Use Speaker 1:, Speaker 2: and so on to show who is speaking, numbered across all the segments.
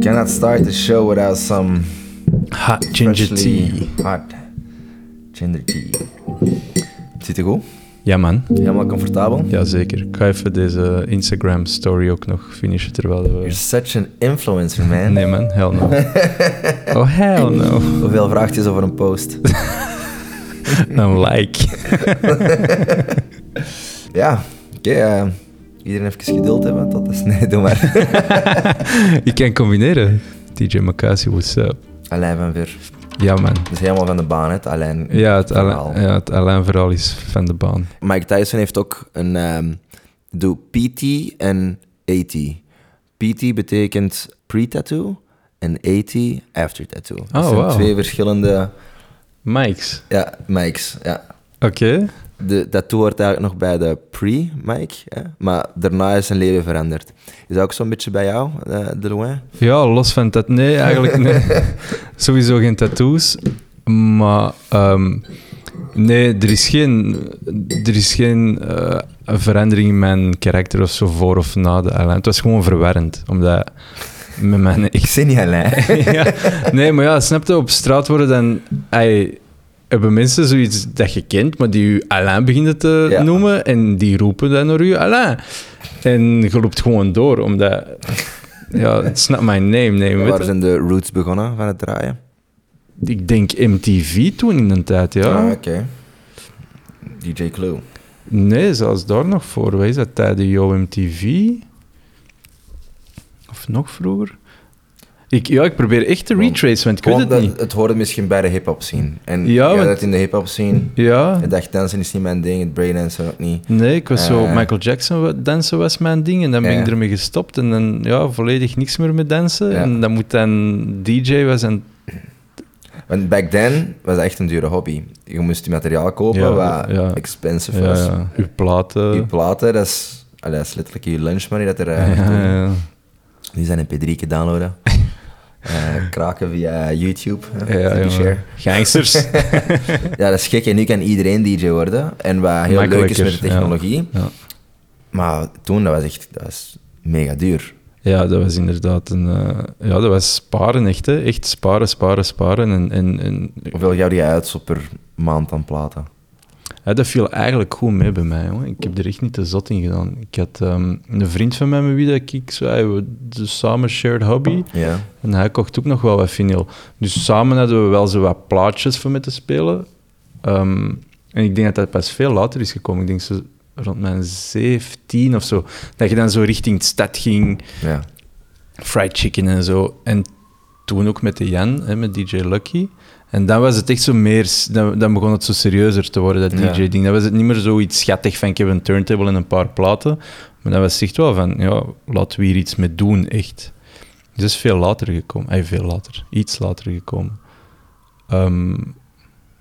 Speaker 1: Cannot start the show without some
Speaker 2: Hot ginger
Speaker 1: freshly
Speaker 2: tea.
Speaker 1: hot ginger tea. Zit er goed?
Speaker 2: Ja, man.
Speaker 1: Helemaal comfortabel?
Speaker 2: Jazeker. Ik ga even deze Instagram-story ook nog finishen terwijl
Speaker 1: You're
Speaker 2: we...
Speaker 1: such an influencer, man.
Speaker 2: Nee, man. Hell no. Oh, hell no.
Speaker 1: Hoeveel vraagt je over een post?
Speaker 2: Een Nou, like.
Speaker 1: ja, oké. eh, iedereen even geduld hebben tot is. Nee, doe maar.
Speaker 2: Je kan combineren. DJ Makasi, what's up?
Speaker 1: Alain van Ver.
Speaker 2: Ja, man.
Speaker 1: Dat is helemaal van de baan, hè? het Alain.
Speaker 2: Ja, het
Speaker 1: verhaal.
Speaker 2: Alain, ja, het Alain verhaal is van de baan.
Speaker 1: Mike Tyson heeft ook een... ehm, doe PT en AT. PT betekent pre-tattoo en AT after tattoo. Dat
Speaker 2: Oh,
Speaker 1: zijn
Speaker 2: wauw.
Speaker 1: twee verschillende...
Speaker 2: Mikes.
Speaker 1: Ja, mics. Ja.
Speaker 2: Oké.
Speaker 1: De tattoo hoort eigenlijk nog bij de pre-mic, hè, maar daarna is zijn leven veranderd. Is dat ook zo'n beetje bij jou, eh, de Louin?
Speaker 2: Ja, los van dat. Nee, eigenlijk nee. Sowieso geen tattoos. Maar ehm, nee, er is geen, er is geen eh, verandering in mijn karakter of zo voor of na de Alain. Het was gewoon verwarrend. Omdat met mijn
Speaker 1: Ik zie niet Alain.
Speaker 2: ja, nee, maar ja, snap je, op straat worden dan... ey, hebben mensen zoiets dat je kent, maar die u Alain beginnen te
Speaker 1: Ja.
Speaker 2: noemen en die roepen dan naar u Alain. En je loopt gewoon door, omdat... Ja, it's not my name, nee. weet
Speaker 1: Waar
Speaker 2: je.
Speaker 1: zijn de roots begonnen van het draaien?
Speaker 2: Ik denk MTV toen in een tijd, ja.
Speaker 1: Ah, Oké. DJ Clue.
Speaker 2: Nee, zelfs daar nog voor. Wat is dat, tijden Yo MTV? Of nog vroeger? Ik, ja, ik probeer echt te
Speaker 1: Want-
Speaker 2: retrace, want ik weet
Speaker 1: Gewoon
Speaker 2: het
Speaker 1: dat-
Speaker 2: niet.
Speaker 1: het hoorde misschien bij de hip-hop scene. En
Speaker 2: Ja,
Speaker 1: ja,
Speaker 2: want-
Speaker 1: dat in de hip-hop scene.
Speaker 2: Ja,
Speaker 1: Het dagdansen is niet mijn ding, het breakdansen ook niet.
Speaker 2: Nee, ik was zo...
Speaker 1: Eh.
Speaker 2: Michael Jackson wa- dansen was mijn ding. En dan ben
Speaker 1: Ja.
Speaker 2: ik ermee gestopt. En dan ja, volledig niks meer met dansen.
Speaker 1: Ja.
Speaker 2: En dan moet dan DJ was en...
Speaker 1: Want back then was dat echt een dure hobby. Je moest je materiaal kopen,
Speaker 2: Ja,
Speaker 1: wat
Speaker 2: ja.
Speaker 1: expensive
Speaker 2: Ja,
Speaker 1: was.
Speaker 2: ja, uw platen.
Speaker 1: Je platen, dat is, allee, dat is letterlijk je lunchmoney dat er...
Speaker 2: ja,
Speaker 1: eh,
Speaker 2: ja.
Speaker 1: Die zijn mp3 downloaden. Eh, kraken via YouTube.
Speaker 2: Ja,
Speaker 1: hè, via die
Speaker 2: jongen.
Speaker 1: share.
Speaker 2: Gangsters.
Speaker 1: ja, dat is gek. En nu kan iedereen DJ worden. En wat heel leuk is
Speaker 2: Makkelijker,
Speaker 1: met de technologie.
Speaker 2: ja.
Speaker 1: Maar toen, dat was echt dat was mega duur.
Speaker 2: ja, dat was inderdaad een... eh, ja, dat was sparen echt, hè. Echt sparen, sparen, sparen. En, en, en
Speaker 1: Hoeveel gauw die uit op per maand aan platen?
Speaker 2: Ja, dat viel eigenlijk goed mee bij mij. Hoor. Ik heb er echt niet te zot in gedaan. Ik had ehm, een vriend van mij met wie dat ik zei, we de samen shared hobby.
Speaker 1: Ja.
Speaker 2: En hij kocht ook nog wel wat vinyl. Dus samen hadden we wel zo wat plaatjes voor me te spelen. Ehm, en ik denk dat dat pas veel later is gekomen. Ik denk zo rond mijn 17 of zo. Dat je dan zo richting de stad ging,
Speaker 1: ja.
Speaker 2: fried chicken en zo. En toen ook met de Jan, hè, met DJ Lucky. En dan was het echt zo meer, s- dan, dan begon het zo serieuzer te worden, dat
Speaker 1: Ja.
Speaker 2: DJ-ding. Dan was het niet meer zoiets schattig van ik heb een turntable en een paar platen. Maar dat was echt wel van, ja, laten we hier iets mee doen, echt. Dus dat is veel later gekomen. Ay, veel later. Iets later gekomen. Ehm,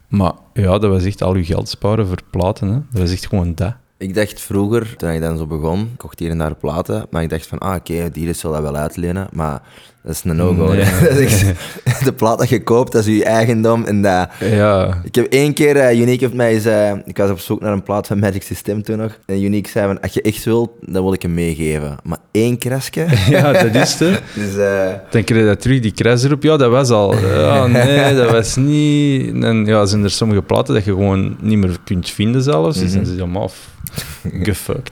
Speaker 2: maar ja, dat was echt al je geld sparen voor platen. Hè. Dat was echt gewoon dat.
Speaker 1: Ik dacht vroeger, toen ik dan zo begon, kocht hier en daar platen. Maar ik dacht van, ah oké, die is zal dat wel uitlenen. Maar dat is een no-go.
Speaker 2: Nee.
Speaker 1: Dat is echt- de plaat dat je koopt, dat is je eigendom. En dat,
Speaker 2: Ja,
Speaker 1: Ik heb één keer, eh, Unique heeft mij eens, eh, ik was op zoek naar een plaat van Magic System toen nog. En Unique zei van, als je echt wilt, dan wil ik hem meegeven. Maar één krasje.
Speaker 2: ja dat is het. hè.
Speaker 1: dus eh,
Speaker 2: Dan kreeg je dat terug, die crash erop. Ja, dat was al. Ja, nee, dat was niet. En ja, zijn er sommige platen dat je gewoon niet meer kunt vinden zelfs. Dus
Speaker 1: Mhm.
Speaker 2: dan is het helemaal f- gefucked.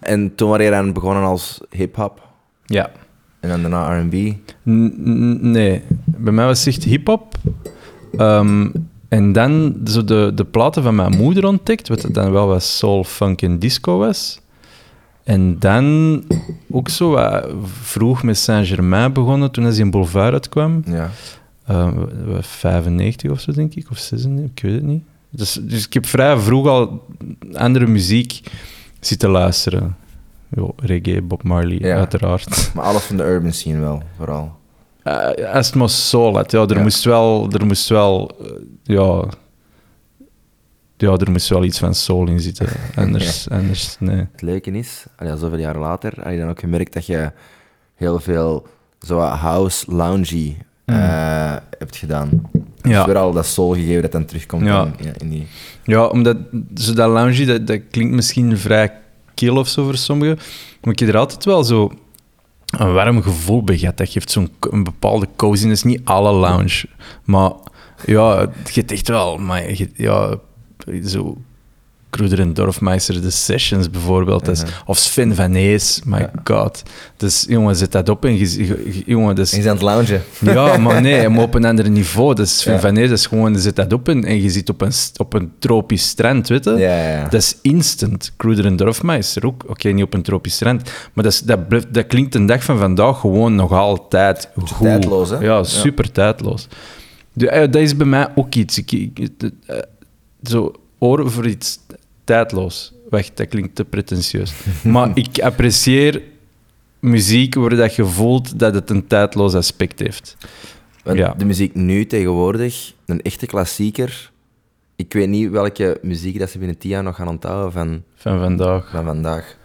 Speaker 1: en toen waren je dan begonnen als hip-hop.
Speaker 2: Ja.
Speaker 1: En dan daarna R&B.
Speaker 2: N- n- nee, bij mij was het echt hip-hop. Ehm, en dan zo de, de platen van mijn moeder ontdekt, wat het dan wel was soul, funk en disco was. En dan ook zo wat vroeg met Saint-Germain begonnen toen hij in Boulevard uitkwam.
Speaker 1: Ja.
Speaker 2: Eh, we- we- 95 of zo, denk ik, of 96, ik weet het niet. Dus, dus ik heb vrij vroeg al andere muziek zitten luisteren. Jo, reggae, Bob Marley,
Speaker 1: Ja.
Speaker 2: uiteraard.
Speaker 1: Maar alles van de urban scene wel, vooral.
Speaker 2: Eh, als het maar soul had, ja, er
Speaker 1: Ja.
Speaker 2: moest wel, er moest wel, eh, ja, ja, er moest wel iets van soul in zitten. Anders, anders, nee.
Speaker 1: Het leuke is, allee, al zoveel jaar later, had je dan ook gemerkt dat je heel veel zo wat house loungy eh, hebt gedaan. Dus
Speaker 2: Ja.
Speaker 1: weer al dat soul gegeven dat dan terugkomt
Speaker 2: Ja.
Speaker 1: in, ja, in die...
Speaker 2: Ja, omdat zo dat lounge, dat, dat klinkt misschien vrij kil of zo voor sommigen. Maar ik heb er altijd wel zo een warm gevoel beget. Dat geeft zo'n k- een bepaalde coziness. Niet alle lounge, maar ja, het geeft echt wel. Maar je- ja, zo Kruder en Dorfmeister, de Sessions bijvoorbeeld. dat is-
Speaker 1: Mhm.
Speaker 2: Of Sven van Ees, my
Speaker 1: Ja.
Speaker 2: god. Dus jongen, zet dat op en je- je- je- jongen, dat is-
Speaker 1: En je bent aan het loungen.
Speaker 2: ja, maar nee, maar op een ander niveau. Dus Sven
Speaker 1: Ja.
Speaker 2: van Ees is gewoon, je zet dat op en, en je zit op een, st- op een tropisch strand, weet je.
Speaker 1: Ja, ja, ja.
Speaker 2: Dat is instant. Cruder en Dorfmeister ook. Oké, niet op een tropisch strand. Maar dat, is, dat, blijft- dat klinkt een dag van vandaag gewoon nog altijd goed.
Speaker 1: tijdloos, hè?
Speaker 2: Ja, super tijdloos. De- eh, dat is bij mij ook iets. Ik, ik- het- eh, zo, oren voor iets tijdloos. Wacht, dat klinkt te pretentieus. maar ik apprecieer muziek waar dat je voelt dat het een tijdloos aspect heeft.
Speaker 1: Want
Speaker 2: Ja.
Speaker 1: de muziek nu tegenwoordig, een echte klassieker. Ik weet niet welke muziek dat ze binnen tien jaar nog gaan onthouden van,
Speaker 2: Van vandaag.
Speaker 1: van vandaag.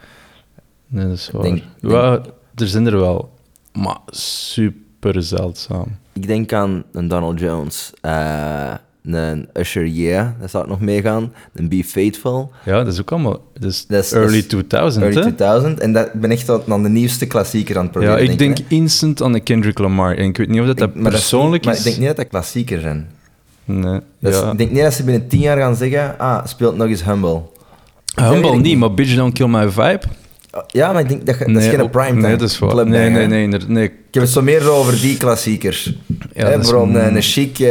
Speaker 2: Nee, dat is waar.
Speaker 1: Denk-
Speaker 2: Wel, er zijn er wel, maar super zeldzaam.
Speaker 1: Ik denk aan een Donald Jones, eh, een Usher Yeah, daar zou ik nog mee gaan. Een Be Faithful,
Speaker 2: Ja, dat is ook allemaal. Dat is
Speaker 1: Dat is- dat
Speaker 2: early
Speaker 1: is
Speaker 2: 2000,
Speaker 1: early
Speaker 2: hè?
Speaker 1: 2000. En dat ik ben echt aan aan de nieuwste klassieker aan het
Speaker 2: ja,
Speaker 1: proberen
Speaker 2: ik
Speaker 1: denken,
Speaker 2: denk instant aan de Kendrick Lamar. En ik weet niet of dat,
Speaker 1: hè.
Speaker 2: dat
Speaker 1: Ik- maar
Speaker 2: persoonlijk
Speaker 1: dat is,
Speaker 2: is.
Speaker 1: Maar ik denk niet dat dat klassieker zijn.
Speaker 2: Nee,
Speaker 1: Dat is-
Speaker 2: ja.
Speaker 1: Ik denk niet dat ze binnen tien jaar gaan zeggen, ah, speelt nog eens Humble.
Speaker 2: Ah, Humble
Speaker 1: weet ik
Speaker 2: niet,
Speaker 1: niet.
Speaker 2: maar Bitch Don't Kill My Vibe.
Speaker 1: Ja, maar ik denk, dat, dat is geen
Speaker 2: ook-
Speaker 1: primetime.
Speaker 2: Nee, dat is waar.
Speaker 1: clubband,
Speaker 2: Nee,
Speaker 1: hè.
Speaker 2: nee, nee, inder- nee.
Speaker 1: Ik heb het zo meer over die klassiekers.
Speaker 2: Ja,
Speaker 1: Hè,
Speaker 2: dat is
Speaker 1: Bijvoorbeeld
Speaker 2: m-
Speaker 1: een, een chic, eh,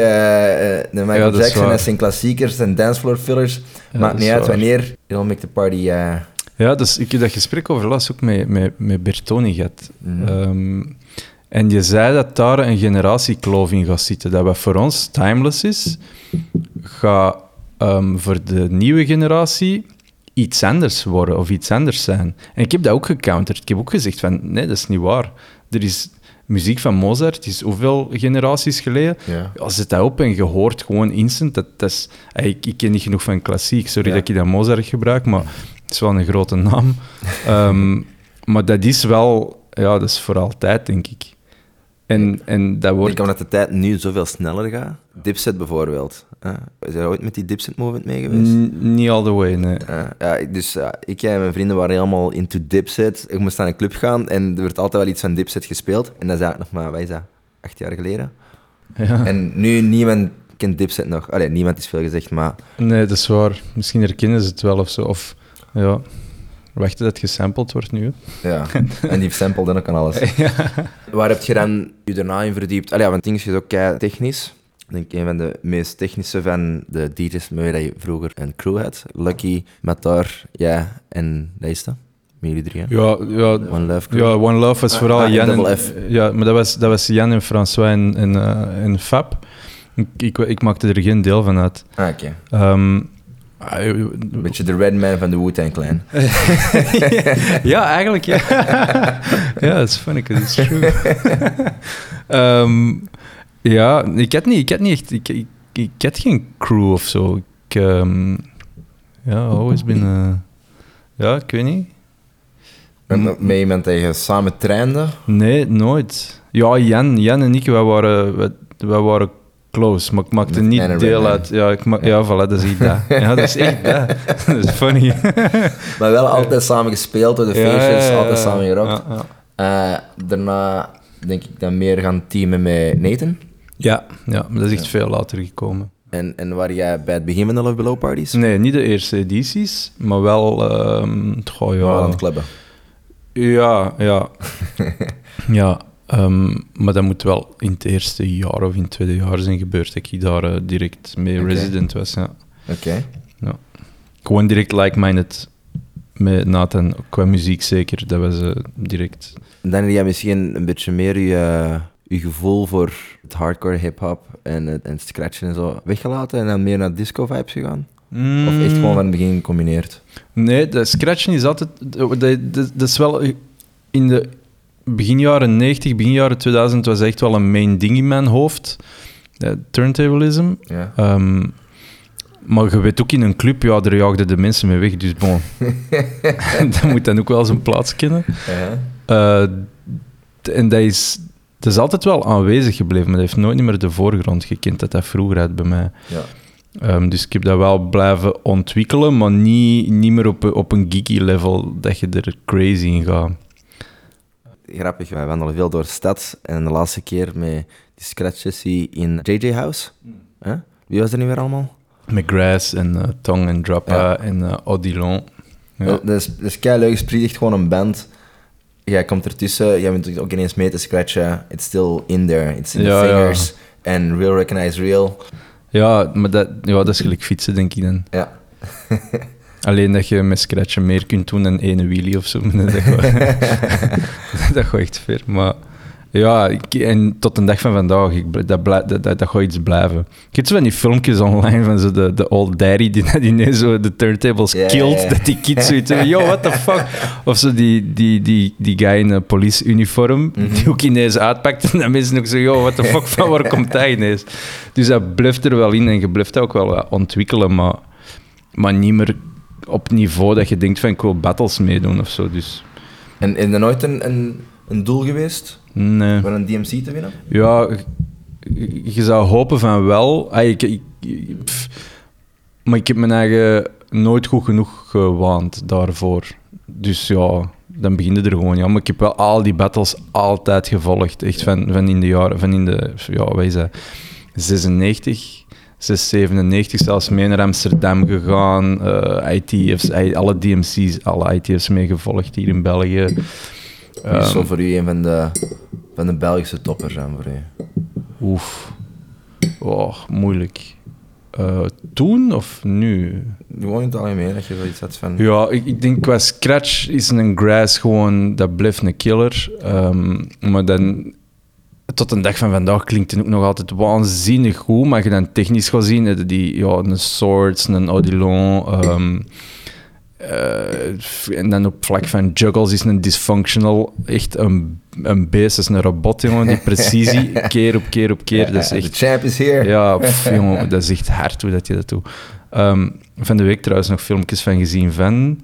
Speaker 1: eh, de Michael
Speaker 2: Ja, dat is
Speaker 1: Jackson,
Speaker 2: waar.
Speaker 1: dat zijn klassiekers en dancefloor fillers.
Speaker 2: Ja,
Speaker 1: Maakt
Speaker 2: dat
Speaker 1: niet
Speaker 2: is
Speaker 1: uit
Speaker 2: waar.
Speaker 1: wanneer. It'll make the party. eh,
Speaker 2: Ja, dus ik heb dat gesprek over laatst ook met, met, met Bertoni gehad.
Speaker 1: Mhm.
Speaker 2: Ehm, en je zei dat daar een generatiekloof in gaat zitten. Dat wat voor ons timeless is, gaat ehm, voor de nieuwe generatie iets anders worden of iets anders zijn. En ik heb dat ook gecounterd. Ik heb ook gezegd van, nee, dat is niet waar. Er is muziek van Mozart, is hoeveel generaties geleden?
Speaker 1: Ja.
Speaker 2: Ja, zet dat op en je hoort gewoon instant. Dat, dat is, ey, ik, ik ken niet genoeg van klassiek, sorry
Speaker 1: Ja.
Speaker 2: dat ik dat Mozart gebruik, maar het is wel een grote naam. Ehm, maar dat is wel, ja, dat is voor altijd, denk ik. En, en dat
Speaker 1: Ik
Speaker 2: wordt.
Speaker 1: denk omdat de tijd nu zoveel sneller gaat. Dipset bijvoorbeeld. hè. Is er ooit met die dipset movement mee geweest?
Speaker 2: N- Niet all the way, nee.
Speaker 1: Ja, ja, ik- dus ja, ik en mijn vrienden waren helemaal into dipset. Ik moest naar een club gaan en er werd altijd wel iets van dipset gespeeld. En dat is eigenlijk nog maar, wat is dat, acht jaar geleden?
Speaker 2: Ja.
Speaker 1: En nu niemand kent dipset nog. Allee, niemand is veel gezegd, maar
Speaker 2: Nee, dat is waar. Misschien herkennen ze het wel of zo. Of ja, wachten dat het gesampled wordt nu. hè.
Speaker 1: Ja, en die sample dan ook aan alles. Waar heb je dan je daarna in verdiept? Allee, ja, want ding is ook kei technisch. Ik denk een van de meest technische van de DJ's met wie dat je vroeger een crew had. Lucky, Matar, ja, en dat is dat. Met jullie drie, hè?
Speaker 2: Ja, ja,
Speaker 1: One Love Crew.
Speaker 2: ja, One Love was
Speaker 1: Ah,
Speaker 2: vooral
Speaker 1: ah, en
Speaker 2: Jan
Speaker 1: Double
Speaker 2: en,
Speaker 1: F.
Speaker 2: ja, maar dat was, dat was Jan en François en, en, eh, en Fab. Ik, ik, ik maakte er geen deel van uit.
Speaker 1: Ah, oké.
Speaker 2: Ehm,
Speaker 1: Een beetje de Redman van de Wu-Tang Clan.
Speaker 2: ja, eigenlijk ja. ja, dat is funny, 'cause it's true. Ehm, ja, ik had niet, ik had niet echt, ik, ik, ik had geen crew of zo. Ik, ehm, ja, always been, eh, ja, ik weet niet.
Speaker 1: En Met iemand dat je samen trainde.
Speaker 2: Nee, nooit. Ja, Jan, Jan en ik, wij waren, wij, wij waren close, maar ik maakte
Speaker 1: Met
Speaker 2: niet
Speaker 1: Tanner
Speaker 2: deel
Speaker 1: Redman.
Speaker 2: uit. Ja, ik ma- ja, voilà, dat is echt dat. Ja, dat is echt dat. dat is funny.
Speaker 1: Maar wel altijd samen gespeeld door de feestjes,
Speaker 2: Ja, ja,
Speaker 1: altijd
Speaker 2: ja.
Speaker 1: samen gerokt.
Speaker 2: Ja, ja.
Speaker 1: Eh, daarna denk ik dan meer gaan teamen met Nathan.
Speaker 2: Ja, ja, maar dat is echt veel later gekomen.
Speaker 1: En, en waar jij bij het begin van de Love Below parties?
Speaker 2: Nee, niet de eerste edities, maar wel. ehm goh,
Speaker 1: Ja, aan
Speaker 2: ja.
Speaker 1: het clubben.
Speaker 2: Ja, ja. ja ehm, maar dat moet wel in het eerste jaar of in het tweede jaar zijn gebeurd. Dat ik daar eh, direct mee
Speaker 1: Oké.
Speaker 2: resident was. Ja.
Speaker 1: Oké.
Speaker 2: Gewoon direct like-minded met Nathan. Qua muziek zeker, dat was eh, direct.
Speaker 1: En Dan heb jij misschien een beetje meer je, je gevoel voor het hardcore hip-hop en, het- en het scratchen en zo weggelaten en dan meer naar disco-vibes gegaan? Of echt gewoon van het begin gecombineerd?
Speaker 2: Nee, dat scratchen is altijd. Dat, dat, dat is wel. eh, In de begin jaren 90, begin jaren 2000 was echt wel een main ding in mijn hoofd. Eh, turntablism.
Speaker 1: Ja.
Speaker 2: Ehm, maar je weet ook in een club, ja, daar jaagden de mensen mee weg. Dus bon. dat moet dan ook wel zijn plaats kennen. Eh, d- en dat is, dat is altijd wel aanwezig gebleven, maar dat heeft nooit meer de voorgrond gekend dat dat vroeger had bij mij.
Speaker 1: ja.
Speaker 2: Ehm, dus ik heb dat wel blijven ontwikkelen, maar niet, niet meer op, een- op een geeky level dat je er crazy in gaat.
Speaker 1: grappig, wij wandelen veel door de stad. En de laatste keer met die scratch-sessie in JJ House. Hè? Wie was er nu weer allemaal?
Speaker 2: McGrath en eh, Tong en Drappa
Speaker 1: Ja. Eh,
Speaker 2: en eh, Odilon. Ja.
Speaker 1: Dat is, dat is kei leuk, het is precies echt gewoon een band. Jij komt ertussen, jij bent ook ineens mee te scratchen. It's still in there, it's in
Speaker 2: Ja,
Speaker 1: the
Speaker 2: ja.
Speaker 1: fingers. En real recognize real.
Speaker 2: Ja, maar dat, ja, dat is gelijk fietsen, denk ik dan.
Speaker 1: Ja.
Speaker 2: Alleen dat je met scratchen meer kunt doen dan ene wheelie of zo. maar Dat gaat, dat gaat echt ver. Maar ja, ik- en tot de dag van vandaag, ik, bl- dat, blij- dat, dat, dat gaat iets blijven. Ik heb zo van die filmpjes online van zo de, de old daddy die dat ineens zo de turntables
Speaker 1: Ja, ja,
Speaker 2: kilt.
Speaker 1: ja.
Speaker 2: Dat die kids zoiets hebben, yo, what the fuck? Of zo die, die, die, die guy in een politieuniform die ook ineens uitpakt. En dan mensen ook zo, yo, what the fuck, van waar komt hij ineens? Dus dat bluft er wel in en je bluft dat ook wel wat ontwikkelen, maar maar niet meer op niveau dat je denkt van ik wil battles meedoen of zo. Dus
Speaker 1: En is er nooit een, een, een doel geweest
Speaker 2: nee.
Speaker 1: om een DMC te winnen?
Speaker 2: Ja, je- je zou hopen van wel. Ah, ik, ik, ik- pff. maar ik heb mijn eigen nooit goed genoeg gewaand daarvoor. Dus ja, dan begint het er gewoon. Ja, maar ik heb wel al die battles altijd gevolgd. Echt van, van in de jaren, van in de, ja, wat is dat? 96, 6, 97 zelfs mee naar Amsterdam gegaan. eh, ITF's, eh, alle DMC's, alle ITF's meegevolgd hier in België.
Speaker 1: Wie is
Speaker 2: Ehm,
Speaker 1: zo voor u een van de, van de Belgische toppers zijn voor u?
Speaker 2: Oef. Oh, moeilijk. Eh, toen of nu?
Speaker 1: Gewoon in het algemeen, dat je zoiets had van...
Speaker 2: Ja, ik, ik denk qua scratch is een grass gewoon, dat blijft een killer. Ehm, maar dan, tot een dag van vandaag klinkt het ook nog altijd waanzinnig goed. Maar als je dan technisch gaat zien, eh, die, ja, een Swords, een Odilon. ehm, eh, en dan op vlak van juggles is een dysfunctional echt een, een beest. Dat is een robot, jongen. Die precisie keer op keer op keer. Dat is echt
Speaker 1: De champ is here.
Speaker 2: ja, pff, jongen, dat is echt hard hoe dat je dat doet. Ehm, van de week trouwens nog filmpjes van gezien van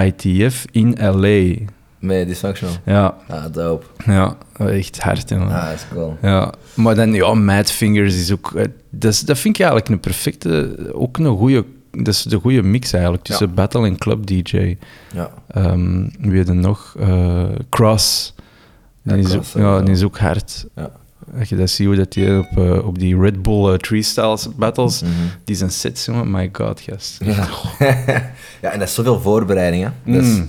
Speaker 2: ITF in LA.
Speaker 1: Met Dysfunctional.
Speaker 2: Ja,
Speaker 1: Ah, dope.
Speaker 2: ja echt hard. jongen.
Speaker 1: Ah, dat is cool.
Speaker 2: Ja, maar dan, ja, Mad Fingers is ook... eh, Dat, is- dat vind ik eigenlijk een perfecte, ook een goede... Dat is de goede mix eigenlijk tussen battle en club DJ.
Speaker 1: Ja.
Speaker 2: Ehm wie had er nog? Eh, Cross.
Speaker 1: Ja,
Speaker 2: Die is,
Speaker 1: Cross,
Speaker 2: ook, ja,
Speaker 1: sowieso.
Speaker 2: die is ook hard.
Speaker 1: Ja.
Speaker 2: Als je dat ziet hoe dat die op, eh, op die Red Bull eh, Tree Styles battles...
Speaker 1: Mhm.
Speaker 2: Die zijn sets, jongen. My god, gast.
Speaker 1: Ja. ja, en dat is zoveel voorbereiding, hè. Dus,
Speaker 2: Mm.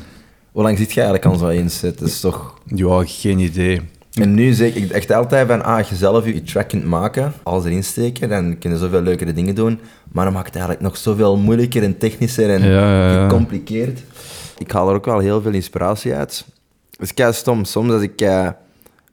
Speaker 1: Hoe lang zit je eigenlijk aan zo'n inzet? Dat is toch...
Speaker 2: Ja, geen idee.
Speaker 1: En nu zeg ik echt altijd van, ah, als je zelf je je track kunt maken, alles erin steken, dan kun je zoveel leukere dingen doen. Maar dan maakt het eigenlijk nog zoveel moeilijker en technischer en
Speaker 2: Ja, ja, ja.
Speaker 1: gecompliceerd. Ik haal er ook wel heel veel inspiratie uit. Het is kei stom. Soms als ik eh,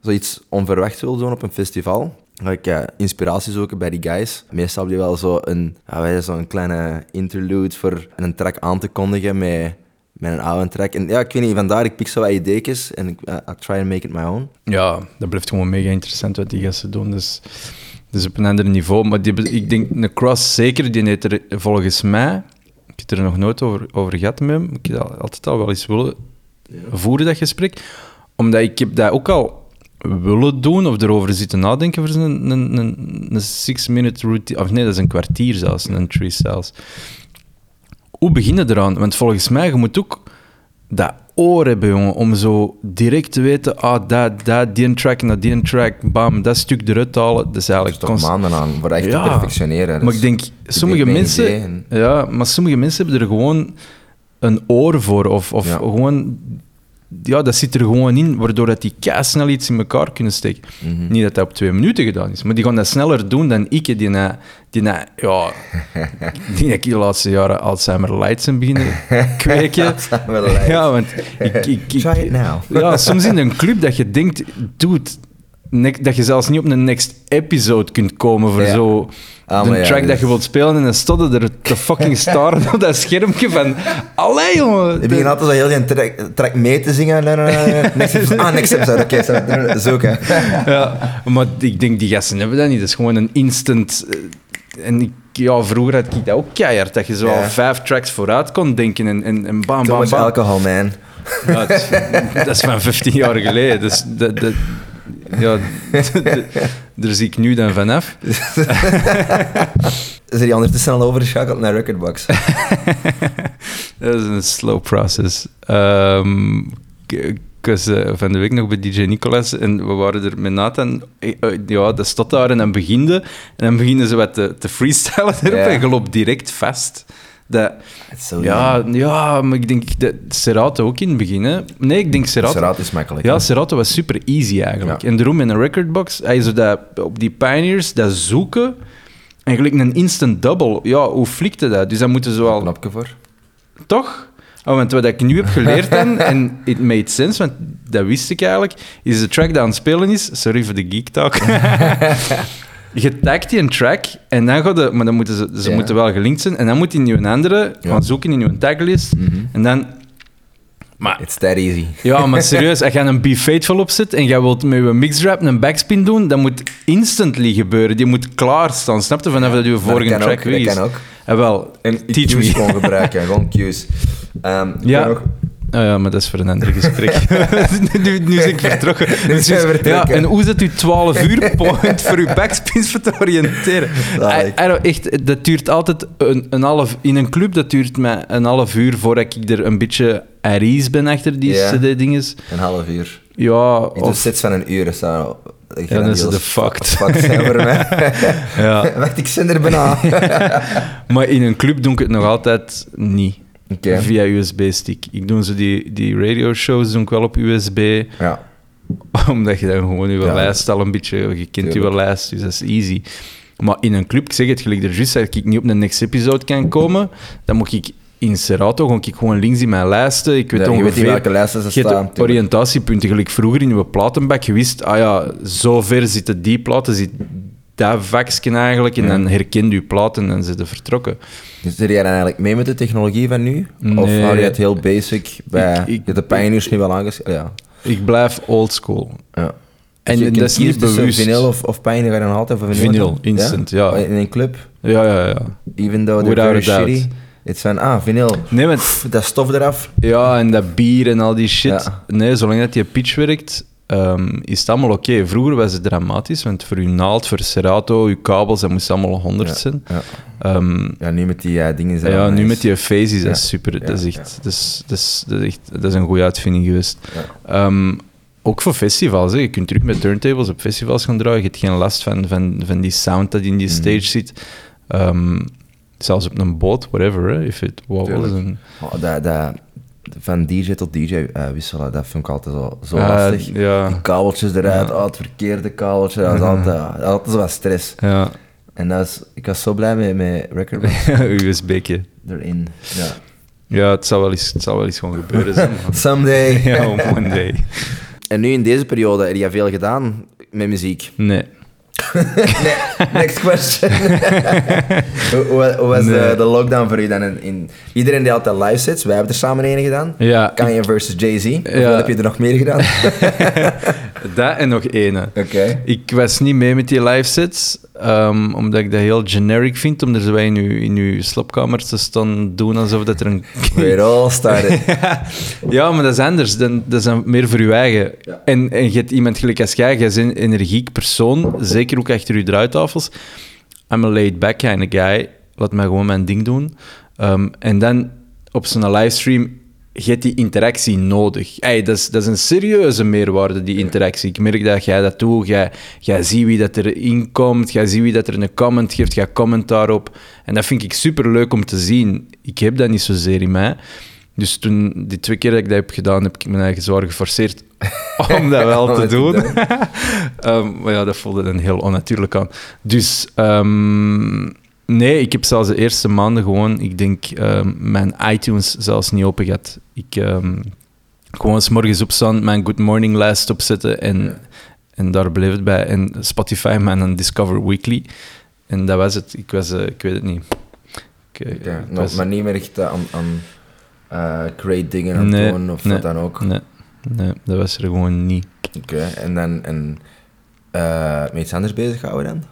Speaker 1: zoiets onverwachts wil doen op een festival, ga ik eh, inspiratie zoeken bij die guys. Meestal heb je wel zo'n ja, zo kleine interlude voor een track aan te kondigen met, met een oude track. En ja, ik weet niet, vandaar ik pik zo wat ideetjes en ik eh, I try and make it my own.
Speaker 2: Ja, dat blijft gewoon mega interessant wat die gasten doen. Dus, dus op een ander niveau. Maar die, hebben- ik denk, een cross zeker, die heeft er volgens mij... Ik heb het er nog nooit over, over gehad met hem. Ik heb dat altijd al wel eens willen voeren, dat gesprek. Omdat ik heb dat ook al willen doen of erover zitten nadenken voor een, een, een, een six-minute routine. Of nee, dat is een kwartier zelfs, een three styles. Hoe beginnen eraan? Want volgens mij, je moet ook dat oor hebben, jongen, om zo direct te weten, ah, dat, dat, die track naar die track, bam, dat stuk eruit te halen. Dat is
Speaker 1: Er is
Speaker 2: eigenlijk
Speaker 1: toch
Speaker 2: constant.
Speaker 1: maanden aan voor dat echt
Speaker 2: Ja.
Speaker 1: te perfectioneren.
Speaker 2: Maar
Speaker 1: Dus
Speaker 2: ik denk, sommige
Speaker 1: geen
Speaker 2: mensen,
Speaker 1: idee en-
Speaker 2: ja, maar sommige mensen hebben er gewoon een oor voor. Of, of
Speaker 1: Ja.
Speaker 2: gewoon, ja, dat zit er gewoon in, waardoor dat die snel iets in elkaar kunnen steken.
Speaker 1: Mhm.
Speaker 2: Niet dat dat op twee minuten gedaan is, maar die gaan dat sneller doen dan ik, die na, die na, ja, die na ik de laatste jaren Alzheimer light zijn beginnen kweken.
Speaker 1: Alzheimer light.
Speaker 2: Ja, want ik... ik, ik
Speaker 1: Try it now.
Speaker 2: Ja, soms in een club dat je denkt, dude, nek- dat je zelfs niet op een next episode kunt komen voor
Speaker 1: Ja.
Speaker 2: zo
Speaker 1: Ah,
Speaker 2: een
Speaker 1: maar ja,
Speaker 2: track
Speaker 1: dus-
Speaker 2: dat je wilt spelen en dan stond er te fucking staren op dat schermpje van... Allee, jongen!
Speaker 1: Ik begin altijd zo heel die track, track mee te zingen. Nee, nee, nee, nee. Next episode. Ah, next episode. Oké, zo- zoeken.
Speaker 2: Ja, maar ik denk, die gasten hebben dat niet. Dat is gewoon een instant... eh, En ik, ja, vroeger had ik dat ook keihard, dat je zo
Speaker 1: Ja.
Speaker 2: al vijf tracks vooruit kon denken en, en, en bam,
Speaker 1: Too
Speaker 2: bam,
Speaker 1: much
Speaker 2: bam.
Speaker 1: alcohol, man.
Speaker 2: Ja, het is- dat is van 15 jaar geleden. Dus dat, dat, ja, daar zie ik nu dan vanaf.
Speaker 1: Is er die ondertussen al overgeschakeld naar Recordbox?
Speaker 2: Dat is een slow process. Ehm, k- was eh, van de week nog bij DJ Nicolas en we waren er met Nathan. eh, eh, Ja, dat stond daar en dan beginde. En dan beginnen ze wat te, te freestylen erop
Speaker 1: Ja.
Speaker 2: en je loopt direct vast. Dat,
Speaker 1: Zo,
Speaker 2: ja, ja, maar ik denk dat Serato ook in het begin. Hè? Nee, ik denk Serato.
Speaker 1: Seraat is makkelijk.
Speaker 2: Ja, Serato was super easy eigenlijk.
Speaker 1: Ja.
Speaker 2: En daarom in een recordbox, hij zo dat, op die Pioneers, dat zoeken. En gelijk een instant double. Ja, hoe flikte dat? Dus dan moeten ze wel...
Speaker 1: knopje voor.
Speaker 2: Toch? Oh, want wat ik nu heb geleerd dan, en it made sense, want dat wist ik eigenlijk, is de track die aan het spelen is, sorry voor de geek talk, je tagt die een track en dan gaat de, maar dan moeten ze, ze
Speaker 1: Ja.
Speaker 2: moeten wel gelinkt zijn, en dan moet die nu een andere
Speaker 1: Ja.
Speaker 2: gaan zoeken in je taglist, en dan, maar
Speaker 1: Mhm. It's that easy.
Speaker 2: ja, maar serieus, als je een Be Faithful opzet en jij wilt met je mixrap een backspin doen, dat moet instantly gebeuren, die moet klaarstaan, snap je, vanaf dat je vorige
Speaker 1: dat kan
Speaker 2: track
Speaker 1: ook,
Speaker 2: weg
Speaker 1: dat
Speaker 2: is.
Speaker 1: kan ook.
Speaker 2: En wel,
Speaker 1: En
Speaker 2: teach
Speaker 1: cues
Speaker 2: me.
Speaker 1: gewoon gebruiken, gewoon cues. Ehm, ik
Speaker 2: Ja.
Speaker 1: ben nog-
Speaker 2: Ah ja, maar dat is voor een ander gesprek. nu, nu ben ik vertrokken.
Speaker 1: Nu
Speaker 2: Dus-
Speaker 1: zijn we vertrokken.
Speaker 2: ja, en hoe zit uw 12 uur point voor uw backspins voor te oriënteren?
Speaker 1: Zalig.
Speaker 2: I- I don't- echt, dat duurt altijd een, een half... In een club, dat duurt mij een half uur voordat ik er een beetje at ease ben achter die
Speaker 1: Ja.
Speaker 2: cd-dinges.
Speaker 1: Een half uur.
Speaker 2: Ja,
Speaker 1: Je doet
Speaker 2: of...
Speaker 1: sets van een uur, is dat... Ik
Speaker 2: Ja,
Speaker 1: vind
Speaker 2: dan
Speaker 1: dat
Speaker 2: is
Speaker 1: heel
Speaker 2: het de fucked.
Speaker 1: Fucked zijn voor mij.
Speaker 2: Ja.
Speaker 1: Want ik zit er bijna. Oké.
Speaker 2: Maar in een club doe ik het nog altijd niet. Via USB-stick. Ik doe zo die, die radio-shows doe ik wel op USB.
Speaker 1: Ja.
Speaker 2: Omdat je dan gewoon je
Speaker 1: Ja.
Speaker 2: lijst al een beetje... Je kent je
Speaker 1: Tuurlijk.
Speaker 2: lijst, dus dat is easy. Maar in een club, ik zeg het gelijk er juist, dat ik niet op de next episode kan komen, dan moet ik in Serato gewoon, ik gewoon links in mijn lijsten. Ik weet
Speaker 1: Ja, je
Speaker 2: ongeveer...
Speaker 1: weet niet welke lijsten ze
Speaker 2: Je hebt
Speaker 1: staan. tuurlijk.
Speaker 2: oriëntatiepunten. Gelijk vroeger in je platenbak, je wist, ah ja, zo ver zitten die platen, zit dat vakje eigenlijk, en
Speaker 1: Ja.
Speaker 2: dan herkende je platen en ze de vertrokken.
Speaker 1: Dus zit jij dan eigenlijk mee met de technologie van nu? Of
Speaker 2: Nee.
Speaker 1: hou je het heel basic bij...
Speaker 2: Ik- ik-
Speaker 1: je hebt de pioneers nu wel aangeschreven. Ja.
Speaker 2: Ik blijf old school.
Speaker 1: ja.
Speaker 2: En
Speaker 1: je
Speaker 2: dat
Speaker 1: kunt
Speaker 2: is niet
Speaker 1: kiezen tussen
Speaker 2: bewust.
Speaker 1: Vinyl of, of pioneer, ga je dan altijd voor vinyl?
Speaker 2: Vinyl,
Speaker 1: doen?
Speaker 2: instant, ja.
Speaker 1: In een club,
Speaker 2: Ja, ja, ja.
Speaker 1: even though they're
Speaker 2: Without
Speaker 1: very
Speaker 2: a doubt.
Speaker 1: shitty. Het zijn, ah, vinyl.
Speaker 2: Nee, maar
Speaker 1: Pff, dat stof eraf.
Speaker 2: Ja, en dat bier en al die shit.
Speaker 1: Ja.
Speaker 2: Nee, zolang dat je pitch werkt, ehm, is het allemaal oké. Vroeger was het dramatisch, want voor je naald, voor Serato, je kabels, dat moest allemaal 100 zijn.
Speaker 1: Ja.
Speaker 2: Ehm,
Speaker 1: Ja, nu met die eh, dingen
Speaker 2: ja,
Speaker 1: zijn allemaal
Speaker 2: nu
Speaker 1: nice.
Speaker 2: met die faces, dat
Speaker 1: Ja.
Speaker 2: is super.
Speaker 1: Ja,
Speaker 2: Dat, is echt, dat, is, dat, is, dat is echt, dat is een goede uitvinding geweest. Ehm, ook voor festivals, hè. je kunt terug met turntables op festivals gaan draaien. Je hebt geen last van, van, van die sound dat in
Speaker 1: Mhm.
Speaker 2: die stage zit. Ehm, zelfs op een boot, whatever, hè, if it wobbles.
Speaker 1: Tuurlijk.
Speaker 2: en-
Speaker 1: Oh, dat, dat, van DJ tot DJ eh, wisselen, dat vind ik altijd zo, zo
Speaker 2: Eh,
Speaker 1: lastig. Die
Speaker 2: ja,
Speaker 1: kabeltjes eruit, oh, het verkeerde kabeltje, dat is altijd, eh, altijd zo wat stress.
Speaker 2: ja.
Speaker 1: En dat is, ik was zo blij met mijn record box
Speaker 2: USB-kje.
Speaker 1: erin. Ja.
Speaker 2: Ja, het zal wel eens, het zal wel eens gewoon gebeuren zijn. man.
Speaker 1: Someday.
Speaker 2: ja, on one day.
Speaker 1: En nu in deze periode, heb je veel gedaan met muziek?
Speaker 2: Nee.
Speaker 1: Next question. hoe, hoe- hoe was eh, de,
Speaker 2: Nee.
Speaker 1: de lockdown voor u dan? In, in- iedereen die altijd live sets, wij hebben er samen een gedaan.
Speaker 2: Ja,
Speaker 1: Kanye versus Jay-Z.
Speaker 2: Ja.
Speaker 1: Wat heb je er nog meer gedaan?
Speaker 2: dat en nog ene.
Speaker 1: Oké.
Speaker 2: Ik was niet mee met die live sets, ehm, omdat ik dat heel generic vind, om er zo bij in uw, in uw slaapkamer te staan doen alsof dat er een...
Speaker 1: We're all started.
Speaker 2: ja, maar dat is anders. Dan, dat is dan meer voor je eigen.
Speaker 1: Ja.
Speaker 2: En, en je hebt iemand gelijk als jij, jij is een energiek persoon, zeker ook achter je draaitafels. I'm a laid-back kind of guy. Laat mij gewoon mijn ding doen. Ehm, en dan op zo'n livestream, je hebt die interactie nodig. Ey, dat, is, dat is een serieuze meerwaarde, die interactie. Ik merk dat jij dat doet. Jij, jij ziet wie dat erin komt. Jij ziet wie dat er een comment geeft. Jij comment daarop. En dat vind ik superleuk om te zien. Ik heb dat niet zozeer in mij. Dus toen, die twee keer dat ik dat heb gedaan, heb ik mijn eigen zwaar geforceerd om dat wel
Speaker 1: Om
Speaker 2: te
Speaker 1: het te
Speaker 2: doen.
Speaker 1: doen.
Speaker 2: Ehm, maar ja, dat voelde dan heel onnatuurlijk aan. Dus ehm, nee, ik heb zelfs de eerste maanden gewoon, ik denk, ehm, mijn iTunes zelfs niet open gehad. Ik ehm gewoon 's morgens opstaan, mijn Good Morning lijst opzetten en,
Speaker 1: Ja.
Speaker 2: en daar bleef het bij. En Spotify, mijn Discover Weekly. En dat was het. Ik was, eh, ik weet het niet. Ik, eh,
Speaker 1: Oké,
Speaker 2: ik
Speaker 1: nog
Speaker 2: was-
Speaker 1: maar niet meer echt eh, aan, aan eh, create dingen aan
Speaker 2: Nee,
Speaker 1: doen of
Speaker 2: nee,
Speaker 1: wat dan ook.
Speaker 2: Nee, nee, dat was er gewoon niet.
Speaker 1: Oké, en dan en, eh, met iets anders bezig houden dan?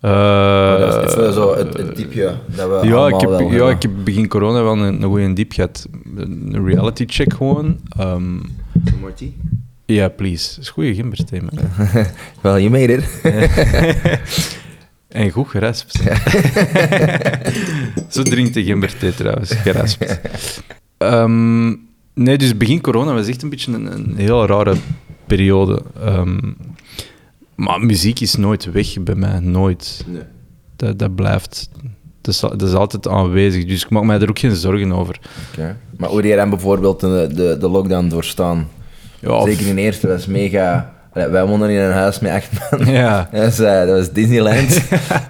Speaker 2: Eh,
Speaker 1: dat is even zo het, het diepje dat we
Speaker 2: ja,
Speaker 1: Eh, allemaal
Speaker 2: ik
Speaker 1: wel
Speaker 2: heb, ja,
Speaker 1: hebben.
Speaker 2: ik heb begin corona wel een, een goede diep gehad. Een reality check gewoon. Ehm,
Speaker 1: Morty?
Speaker 2: Ja, please. Dat is goede gimberthema.
Speaker 1: Wel, je made it.
Speaker 2: en goed geraspt. Zo drinkt de gimberthee trouwens, geraspt. Ehm, Nee, dus begin corona was echt een beetje een, een heel rare periode. Ehm, maar muziek is nooit weg bij mij, nooit.
Speaker 1: Nee.
Speaker 2: Dat, dat blijft. Dat is, al- dat is altijd aanwezig, dus ik maak mij er ook geen zorgen over.
Speaker 1: Oké. Maar hoe die dan bijvoorbeeld de, de, de lockdown doorstaan?
Speaker 2: Ja, of-
Speaker 1: Zeker in de eerste, dat is mega... Allee, wij woonden in een huis met acht man.
Speaker 2: Ja.
Speaker 1: Dat was, eh, dat was Disneyland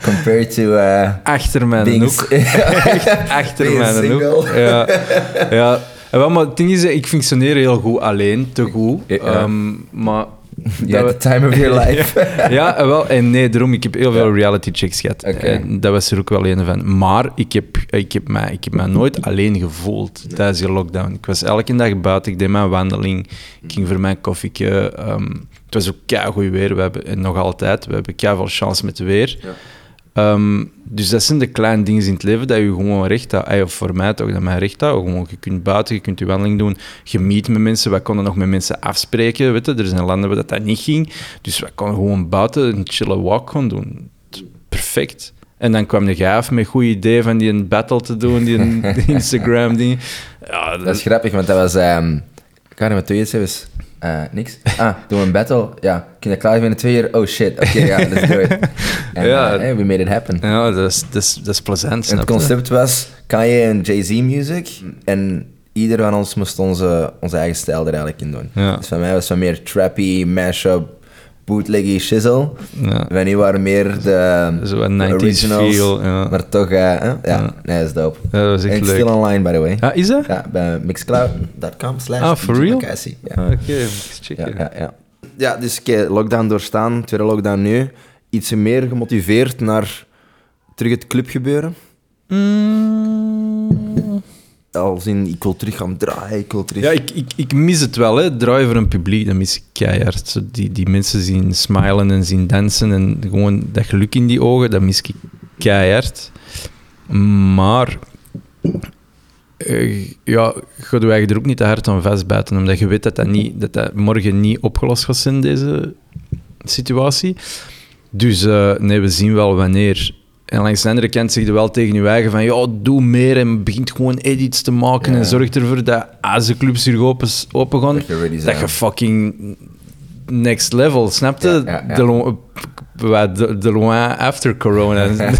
Speaker 1: compared to... eh,
Speaker 2: Achter mijn
Speaker 1: being
Speaker 2: hoek.
Speaker 1: s-
Speaker 2: Echt achter
Speaker 1: Being
Speaker 2: mijn hoek.
Speaker 1: single.
Speaker 2: Ja. ja. En wel, maar het ding is, ik functioneer heel goed alleen, te goed.
Speaker 1: Ja.
Speaker 2: Ehm, maar...
Speaker 1: You had
Speaker 2: dat
Speaker 1: the time of your life.
Speaker 2: we- ja, en wel. En nee, daarom, ik heb heel veel reality checks gehad.
Speaker 1: Oké.
Speaker 2: En dat was er ook wel een van. Maar ik heb, ik heb, mij, ik heb mij nooit alleen gevoeld tijdens die lockdown. Ik was elke dag buiten, ik deed mijn wandeling, ik ging voor mijn koffieke. ehm, het was ook keigoed weer, we hebben, en nog altijd, we hebben keiveel chance met het weer. Ehm, dus dat zijn de kleine dingen in het leven dat je gewoon recht houdt. Ey, Of voor mij toch, dat mij recht houdt. Gewoon, je kunt buiten, je kunt je wandeling doen. Je meet met mensen. Wij konden nog met mensen afspreken. Weet je? Er zijn landen waar dat, dat niet ging. Dus wij konden gewoon buiten een chille walk gaan doen. Perfect. En dan kwam de gaaf met goede idee van die een battle te doen, die een Instagram ding. Ja,
Speaker 1: Dat is grappig, want dat was... ehm ik had met twee uur zelfs. eh, niks. Ah, doen we een battle? Ja. Kun je klaar zijn in twee uur? Oh shit, oké, ja, let's do it. En,
Speaker 2: Ja.
Speaker 1: eh, hey, we made it happen.
Speaker 2: ja, dat is, dat is, dat is plezant,
Speaker 1: En
Speaker 2: snap
Speaker 1: het
Speaker 2: je?
Speaker 1: concept was Kanye en Jay-Z music. En ieder van ons moest onze, onze eigen stijl er eigenlijk in doen.
Speaker 2: Ja.
Speaker 1: Dus van mij was het meer trappy, mashup, bootleggy, shizzle.
Speaker 2: Ja.
Speaker 1: Wij nu waren meer de,
Speaker 2: Zo een
Speaker 1: de
Speaker 2: 90s
Speaker 1: originals.
Speaker 2: feel, ja.
Speaker 1: Maar toch, eh, hè? ja,
Speaker 2: Ja.
Speaker 1: Nee, dat is dope.
Speaker 2: Ja, dat is echt
Speaker 1: en
Speaker 2: leuk.
Speaker 1: still online, by the way.
Speaker 2: Ah, is dat?
Speaker 1: Ja, bij mixcloud.com slash
Speaker 2: Ah, for real?
Speaker 1: Cassie. Ja.
Speaker 2: Ah, Oké, eens
Speaker 1: Ja,
Speaker 2: checken.
Speaker 1: ja, ja. ja, dus oké, lockdown doorstaan, tweede lockdown nu. Iets meer gemotiveerd naar terug het clubgebeuren.
Speaker 2: Mm.
Speaker 1: Als in, ik wil terug gaan draaien, ik wil terug...
Speaker 2: Ja, ik, ik, ik mis het wel, hè. Draaien voor een publiek, dat mis ik keihard. Zo die, die mensen zien smilen en zien dansen en gewoon dat geluk in die ogen, dat mis ik keihard. Maar... eh, ja, ga je eigen er ook niet te hard aan vastbijten, omdat je weet dat dat, niet, dat, dat morgen niet opgelost gaat zijn, deze situatie. Dus eh, nee, we zien wel wanneer. En langs de andere kant zeg je wel tegen je eigen van, ja, doe meer en begint gewoon edits te maken
Speaker 1: Ja.
Speaker 2: en zorg ervoor dat als de clubs hier open, open gaan,
Speaker 1: Dat je ready
Speaker 2: dat
Speaker 1: zijn.
Speaker 2: je fucking next level, snapte?
Speaker 1: Ja, ja, ja.
Speaker 2: De, lo- wat, de, de loin after corona. Zo.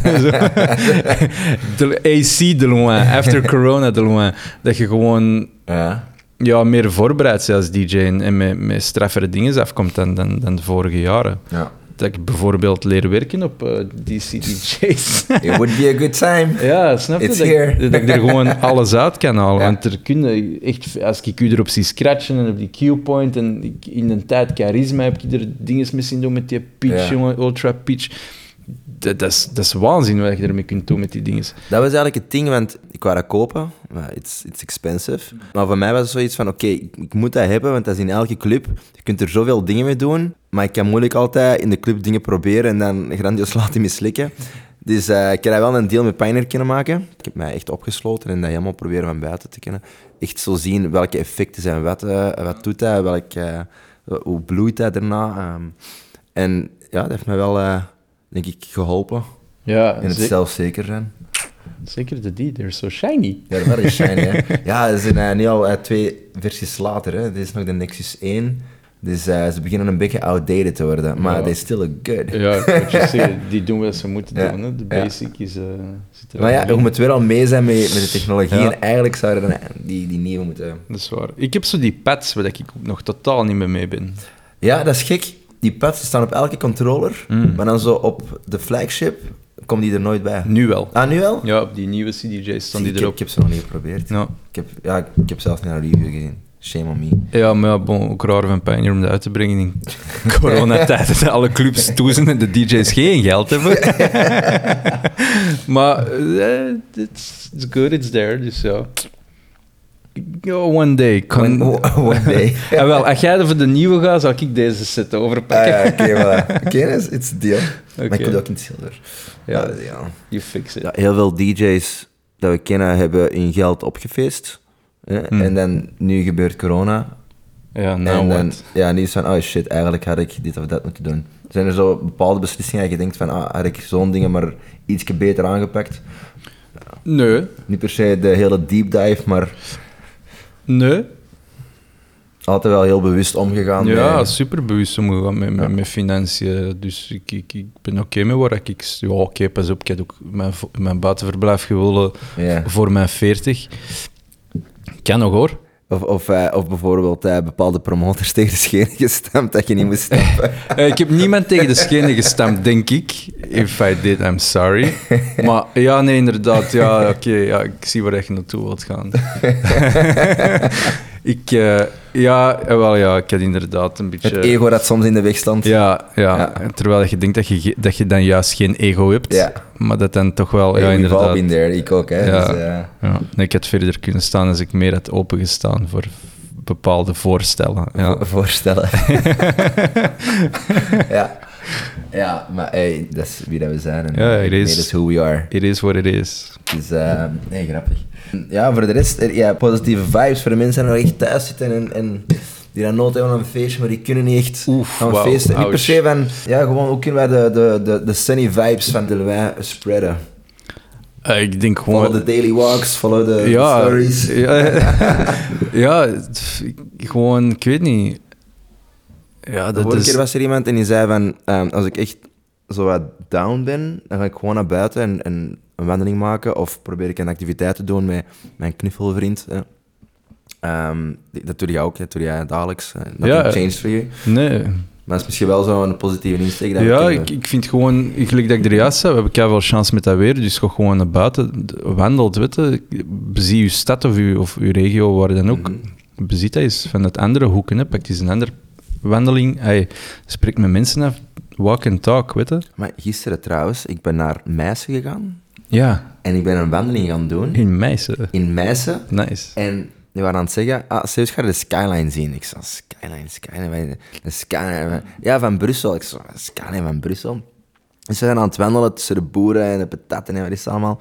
Speaker 2: de AC de loin, after corona de loin. Dat je gewoon
Speaker 1: Ja.
Speaker 2: ja, meer voorbereid bent als DJ en, en met, met straffere dingen afkomt dan, dan, dan de vorige jaren.
Speaker 1: ja.
Speaker 2: Dat ik bijvoorbeeld leer werken op eh, DC DJ's.
Speaker 1: It would be a good time.
Speaker 2: ja, snap je?
Speaker 1: It's
Speaker 2: Dat ik,
Speaker 1: here.
Speaker 2: dat ik er gewoon alles uit kan halen.
Speaker 1: Ja.
Speaker 2: Want er kunnen echt, als ik u erop zie scratchen en op die Q-point en ik in een tijd charisma heb ik er dingen mee zien doen met die pitch,
Speaker 1: Ja.
Speaker 2: jongen, ultra pitch. Dat, dat, is, dat is waanzin wat je ermee kunt doen met die dingen.
Speaker 1: Dat was eigenlijk het ding, want ik wou dat kopen, maar it's, it's expensive. Maar voor mij was het zoiets van, oké, ik, ik moet dat hebben, want dat is in elke club. Je kunt er zoveel dingen mee doen, maar ik kan moeilijk altijd in de club dingen proberen en dan grandioos laten mislukken. Dus eh, ik heb daar wel een deal met Pioneer kunnen maken. Ik heb mij echt opgesloten en dat helemaal proberen van buiten te kennen. Echt zo zien welke effecten zijn, wat, eh, wat doet dat, welk, eh, hoe bloeit dat daarna. ehm. en ja, dat heeft mij wel, eh, denk ik, geholpen
Speaker 2: Ja,
Speaker 1: in het zelfzeker zijn.
Speaker 2: zeker de die, they're so shiny.
Speaker 1: Ja, dat is shiny, hè. Ja, ze zijn eh, nu al eh, twee versies later, hè. Dit is nog de Nexus 1. Dus eh, ze beginnen een beetje outdated te worden. Maar
Speaker 2: Ja.
Speaker 1: they still look good.
Speaker 2: Ja, wat je zegt, die doen wat ze moeten
Speaker 1: Ja,
Speaker 2: doen. Hè. De
Speaker 1: ja.
Speaker 2: basic is... eh zit er
Speaker 1: Maar ja,
Speaker 2: wel
Speaker 1: je
Speaker 2: in.
Speaker 1: moet wel al mee zijn met, met de technologie.
Speaker 2: Ja.
Speaker 1: En eigenlijk zouden dan die, die nieuwe moeten...
Speaker 2: Dat is waar. Ik heb zo die pads waar ik ook nog totaal niet meer mee ben.
Speaker 1: Ja, dat is gek. Die pads die staan op elke controller.
Speaker 2: Mm.
Speaker 1: Maar dan zo op de flagship komen die er nooit bij.
Speaker 2: Nu wel.
Speaker 1: Ah, nu wel?
Speaker 2: Ja, op die nieuwe CDJ's staan die
Speaker 1: ik, heb-
Speaker 2: erop.
Speaker 1: ik heb ze nog niet geprobeerd.
Speaker 2: Ja.
Speaker 1: Ik, heb, ja, ik heb zelfs naar een review gezien. Shame on me.
Speaker 2: ja, maar ja, bon, ook raar van Pioneer om dat uit te brengen in coronatijd. dat alle clubs toe zijn en de DJ's geen geld hebben. maar eh, it's, it's good, it's there, dus ja. Ja, one day. Kan...
Speaker 1: One- one day.
Speaker 2: en wel, als jij er voor de nieuwe gaat, zal ik deze set
Speaker 1: Ah
Speaker 2: overpakken.
Speaker 1: ja, oké, voilà. Oké, dat is- it's a deal. Maar
Speaker 2: Oké.
Speaker 1: ik wil ook in het zilver.
Speaker 2: Ja.
Speaker 1: dat is- Eh, ja.
Speaker 2: You fix it.
Speaker 1: Ja, heel veel DJ's dat we kennen hebben hun geld opgefeest. Hè?
Speaker 2: Hmm.
Speaker 1: En dan nu gebeurt corona.
Speaker 2: Ja,
Speaker 1: en
Speaker 2: nou
Speaker 1: dan,
Speaker 2: wat.
Speaker 1: ja, nu is van, oh shit, eigenlijk had ik dit of dat moeten doen. Zijn er zo bepaalde beslissingen dat je denkt van, ah, had ik zo'n dingen maar ietsje beter aangepakt?
Speaker 2: Nee,
Speaker 1: Niet per se de hele deep dive, maar
Speaker 2: nee.
Speaker 1: altijd wel heel bewust omgegaan.
Speaker 2: Ja,
Speaker 1: met-
Speaker 2: superbewust omgegaan met, met, met financiën. Dus ik, ik, ik ben oké met waar ik- ik... Ja, oké, pas op, ik heb ook mijn, vo- mijn buitenverblijf gewonnen
Speaker 1: ja.
Speaker 2: voor mijn 40. Kan nog hoor.
Speaker 1: Of, of, eh, of bijvoorbeeld eh, bepaalde promotors tegen de schenen gestemd dat je niet moest stemmen.
Speaker 2: Eh, ik heb niemand tegen de schenen gestemd, denk ik. If I did, I'm sorry. Maar ja, nee, inderdaad. Ja, oké. ja, ik zie waar je naartoe wilt gaan. ik, eh, ja, eh, wel ja, ik had inderdaad een beetje...
Speaker 1: Het ego dat soms in de weg stond.
Speaker 2: Ja, ja.
Speaker 1: Ja.
Speaker 2: terwijl je denkt dat je, ge- dat je dan juist geen ego hebt.
Speaker 1: Ja.
Speaker 2: Maar dat dan toch wel...
Speaker 1: Hey,
Speaker 2: Ja,
Speaker 1: we've all
Speaker 2: inderdaad.
Speaker 1: been there, ik ook. Hè.
Speaker 2: Ja.
Speaker 1: Dus, eh,
Speaker 2: Ja. Nee, ik had verder kunnen staan als ik meer had opengestaan voor bepaalde voorstellen. Ja.
Speaker 1: vo- voorstellen. ja. ja, maar hey, dat is wie dat we zijn. En,
Speaker 2: Ja,
Speaker 1: eh,
Speaker 2: it
Speaker 1: nee,
Speaker 2: is.
Speaker 1: dat is who we are.
Speaker 2: It is what it is.
Speaker 1: Dus, eh, nee, grappig. Ja, voor de rest, eh, ja, positieve vibes voor de mensen die nog echt thuis zitten en, en die dan nood hebben aan een feestje, maar die kunnen niet echt
Speaker 2: Oef,
Speaker 1: aan een
Speaker 2: wauw,
Speaker 1: feest. Niet per
Speaker 2: ouch.
Speaker 1: se van, ja, gewoon hoe kunnen wij de, de, de, de sunny vibes van Delwijn spreaden?
Speaker 2: Eh, ik denk gewoon...
Speaker 1: Follow de daily walks, follow de de
Speaker 2: ja,
Speaker 1: stories.
Speaker 2: Ja, ja, het- gewoon, ik weet niet. Ja,
Speaker 1: De
Speaker 2: dat
Speaker 1: vorige
Speaker 2: is...
Speaker 1: keer was er iemand en die zei van, ehm, als ik echt zo wat down ben, dan ga ik gewoon naar buiten en, en een wandeling maken. Of probeer ik een activiteit te doen met mijn knuffelvriend. Hè. Ehm, die- dat doe je ook, hè. dat doe jij dagelijks. hè. Nothing
Speaker 2: Ja. eh,
Speaker 1: changed for you.
Speaker 2: Nee.
Speaker 1: Maar dat is misschien wel zo'n positieve insteek. Dat we
Speaker 2: Ja,
Speaker 1: kunnen-
Speaker 2: ik, ik vind gewoon, gelijk dat ik er juist zei, we hebben keihard veel chance met dat weer, dus ga gewoon naar buiten, d- wandelt, weet je. Bezie je stad of je, of je regio, waar dan ook.
Speaker 1: Mhm.
Speaker 2: Beziet dat eens vanuit andere hoeken, hè. Pak eens een andere wandeling. Hey, spreek met mensen af, walk and talk, weet je.
Speaker 1: Maar gisteren trouwens, ik ben naar Meissen gegaan.
Speaker 2: Ja,
Speaker 1: En ik ben een wandeling gaan doen
Speaker 2: in Meissen.
Speaker 1: in Meissen.
Speaker 2: Nice.
Speaker 1: En die waren aan het zeggen, ah, Zeus, ga je de skyline zien? Ik zei, skyline, skyline, wij- de skyline. wij- Ja, van Brussel. Ik zei, skyline van Brussel. Dus ze zijn aan het wandelen tussen de boeren en de pataten en wat is het allemaal.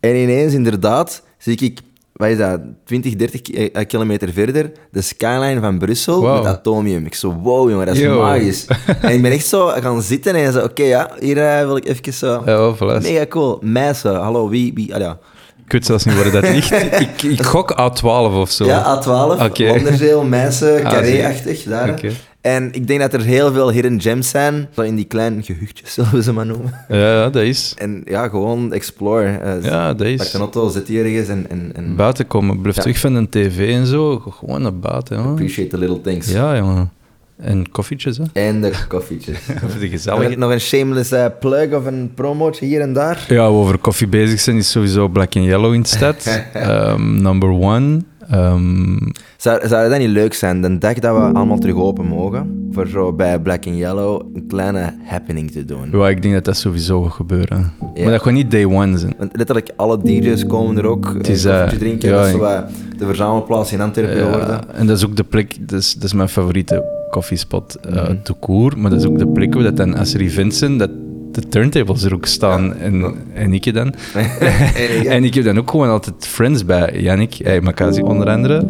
Speaker 1: En ineens, inderdaad, zie ik, wat is dat, 20, 30 ki- eh, kilometer verder, de skyline van Brussel
Speaker 2: Wow.
Speaker 1: met Atomium. Ik zo, wow jongen, dat is
Speaker 2: Yo.
Speaker 1: magisch. en ik ben echt zo gaan zitten en zei, oké ja, hier eh, wil ik even zo...
Speaker 2: Ja, wel, voilà.
Speaker 1: Mega cool. Meissen, hallo, wie, wie, ah, ja.
Speaker 2: Ik weet zelfs niet waar dat ligt. ik, ik gok A12 of zo.
Speaker 1: Ja, A12,
Speaker 2: Oké.
Speaker 1: Londerzeel, Meissen,
Speaker 2: Ah,
Speaker 1: Carré-achtig, daar.
Speaker 2: Oké.
Speaker 1: En ik denk dat er heel veel hidden gems zijn, zo in die kleine gehuchtjes, zullen we ze maar noemen.
Speaker 2: Ja, ja, dat is.
Speaker 1: En ja, gewoon explore. eh,
Speaker 2: Ja, dat
Speaker 1: Pak
Speaker 2: is. Hmm.
Speaker 1: een auto, zit hier ergens en, en, en
Speaker 2: Buiten komen, blijf
Speaker 1: Ja.
Speaker 2: terug van een tv en zo. Ga Gewoon naar buiten, jongen.
Speaker 1: appreciate the little things.
Speaker 2: Ja, jongen. En koffietjes, hè.
Speaker 1: En de koffietjes.
Speaker 2: Voor de
Speaker 1: Nog een-
Speaker 2: gezelligheid.
Speaker 1: Nog een shameless eh, plug of een promotje hier en daar.
Speaker 2: Ja, we over koffie bezig zijn is sowieso Black and Yellow in de stad. Ehm, number one. Ehm,
Speaker 1: Zou, zou dat niet leuk zijn, de dag dat we allemaal terug open mogen, voor zo bij Black and Yellow een kleine happening te doen?
Speaker 2: ja, ik denk dat dat sowieso gaat gebeuren.
Speaker 1: Ja.
Speaker 2: Maar dat gewoon niet day one zijn.
Speaker 1: Want letterlijk alle DJ's komen er ook. Het
Speaker 2: is,
Speaker 1: is,
Speaker 2: eh,
Speaker 1: drinken,
Speaker 2: ja,
Speaker 1: dat is
Speaker 2: ik-
Speaker 1: zo, eh, de verzamelplaats in Antwerpen
Speaker 2: Ja,
Speaker 1: geworden.
Speaker 2: Eh, en dat is ook de plek, dat is, dat is mijn favoriete koffiespot eh to court, maar dat is ook de plek waar dat dan, als er events zijn, dat de turntables er ook staan en, en ik dan.
Speaker 1: En ik-
Speaker 2: en ik heb dan ook gewoon altijd friends bij Yannick, hey, Makazi onder andere,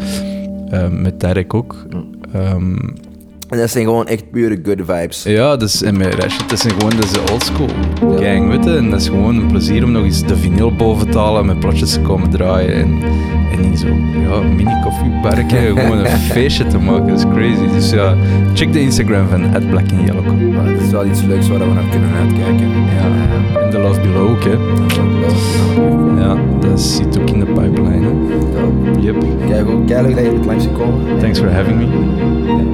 Speaker 2: eh, met Tarek ook. Ehm,
Speaker 1: En dat zijn gewoon echt pure good vibes.
Speaker 2: ja, dat is, en met Rashid, dat zijn gewoon dat is de oldschool gang, weet je, en dat is gewoon een plezier om nog eens de vinyl boven te halen en met plotjes te komen draaien en, en in zo'n ja, mini koffiebarkje gewoon een feestje te maken, dat is crazy. Dus ja, check de Instagram van at Black and Yellow Cup.
Speaker 1: Maar het is wel iets leuks waar we naar kunnen uitkijken.
Speaker 2: Ja, en The Love Below ook, hè. Ja, dat zit ook in de pipeline, hè. Yep,
Speaker 1: Kijk ook, kijk leuk dat je bent langsgekomen.
Speaker 2: thanks for having me.
Speaker 1: Ja,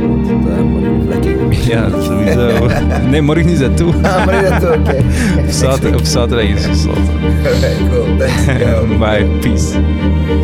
Speaker 1: want het, eh, moet even lekker.
Speaker 2: Ja, sowieso. Nee, morgen is dat toe.
Speaker 1: Ah, maar dat ook, oké.
Speaker 2: Op zaterdag, op zaterdag is het gesloten.
Speaker 1: Alright, cool, thanks. Yo.
Speaker 2: Bye, peace.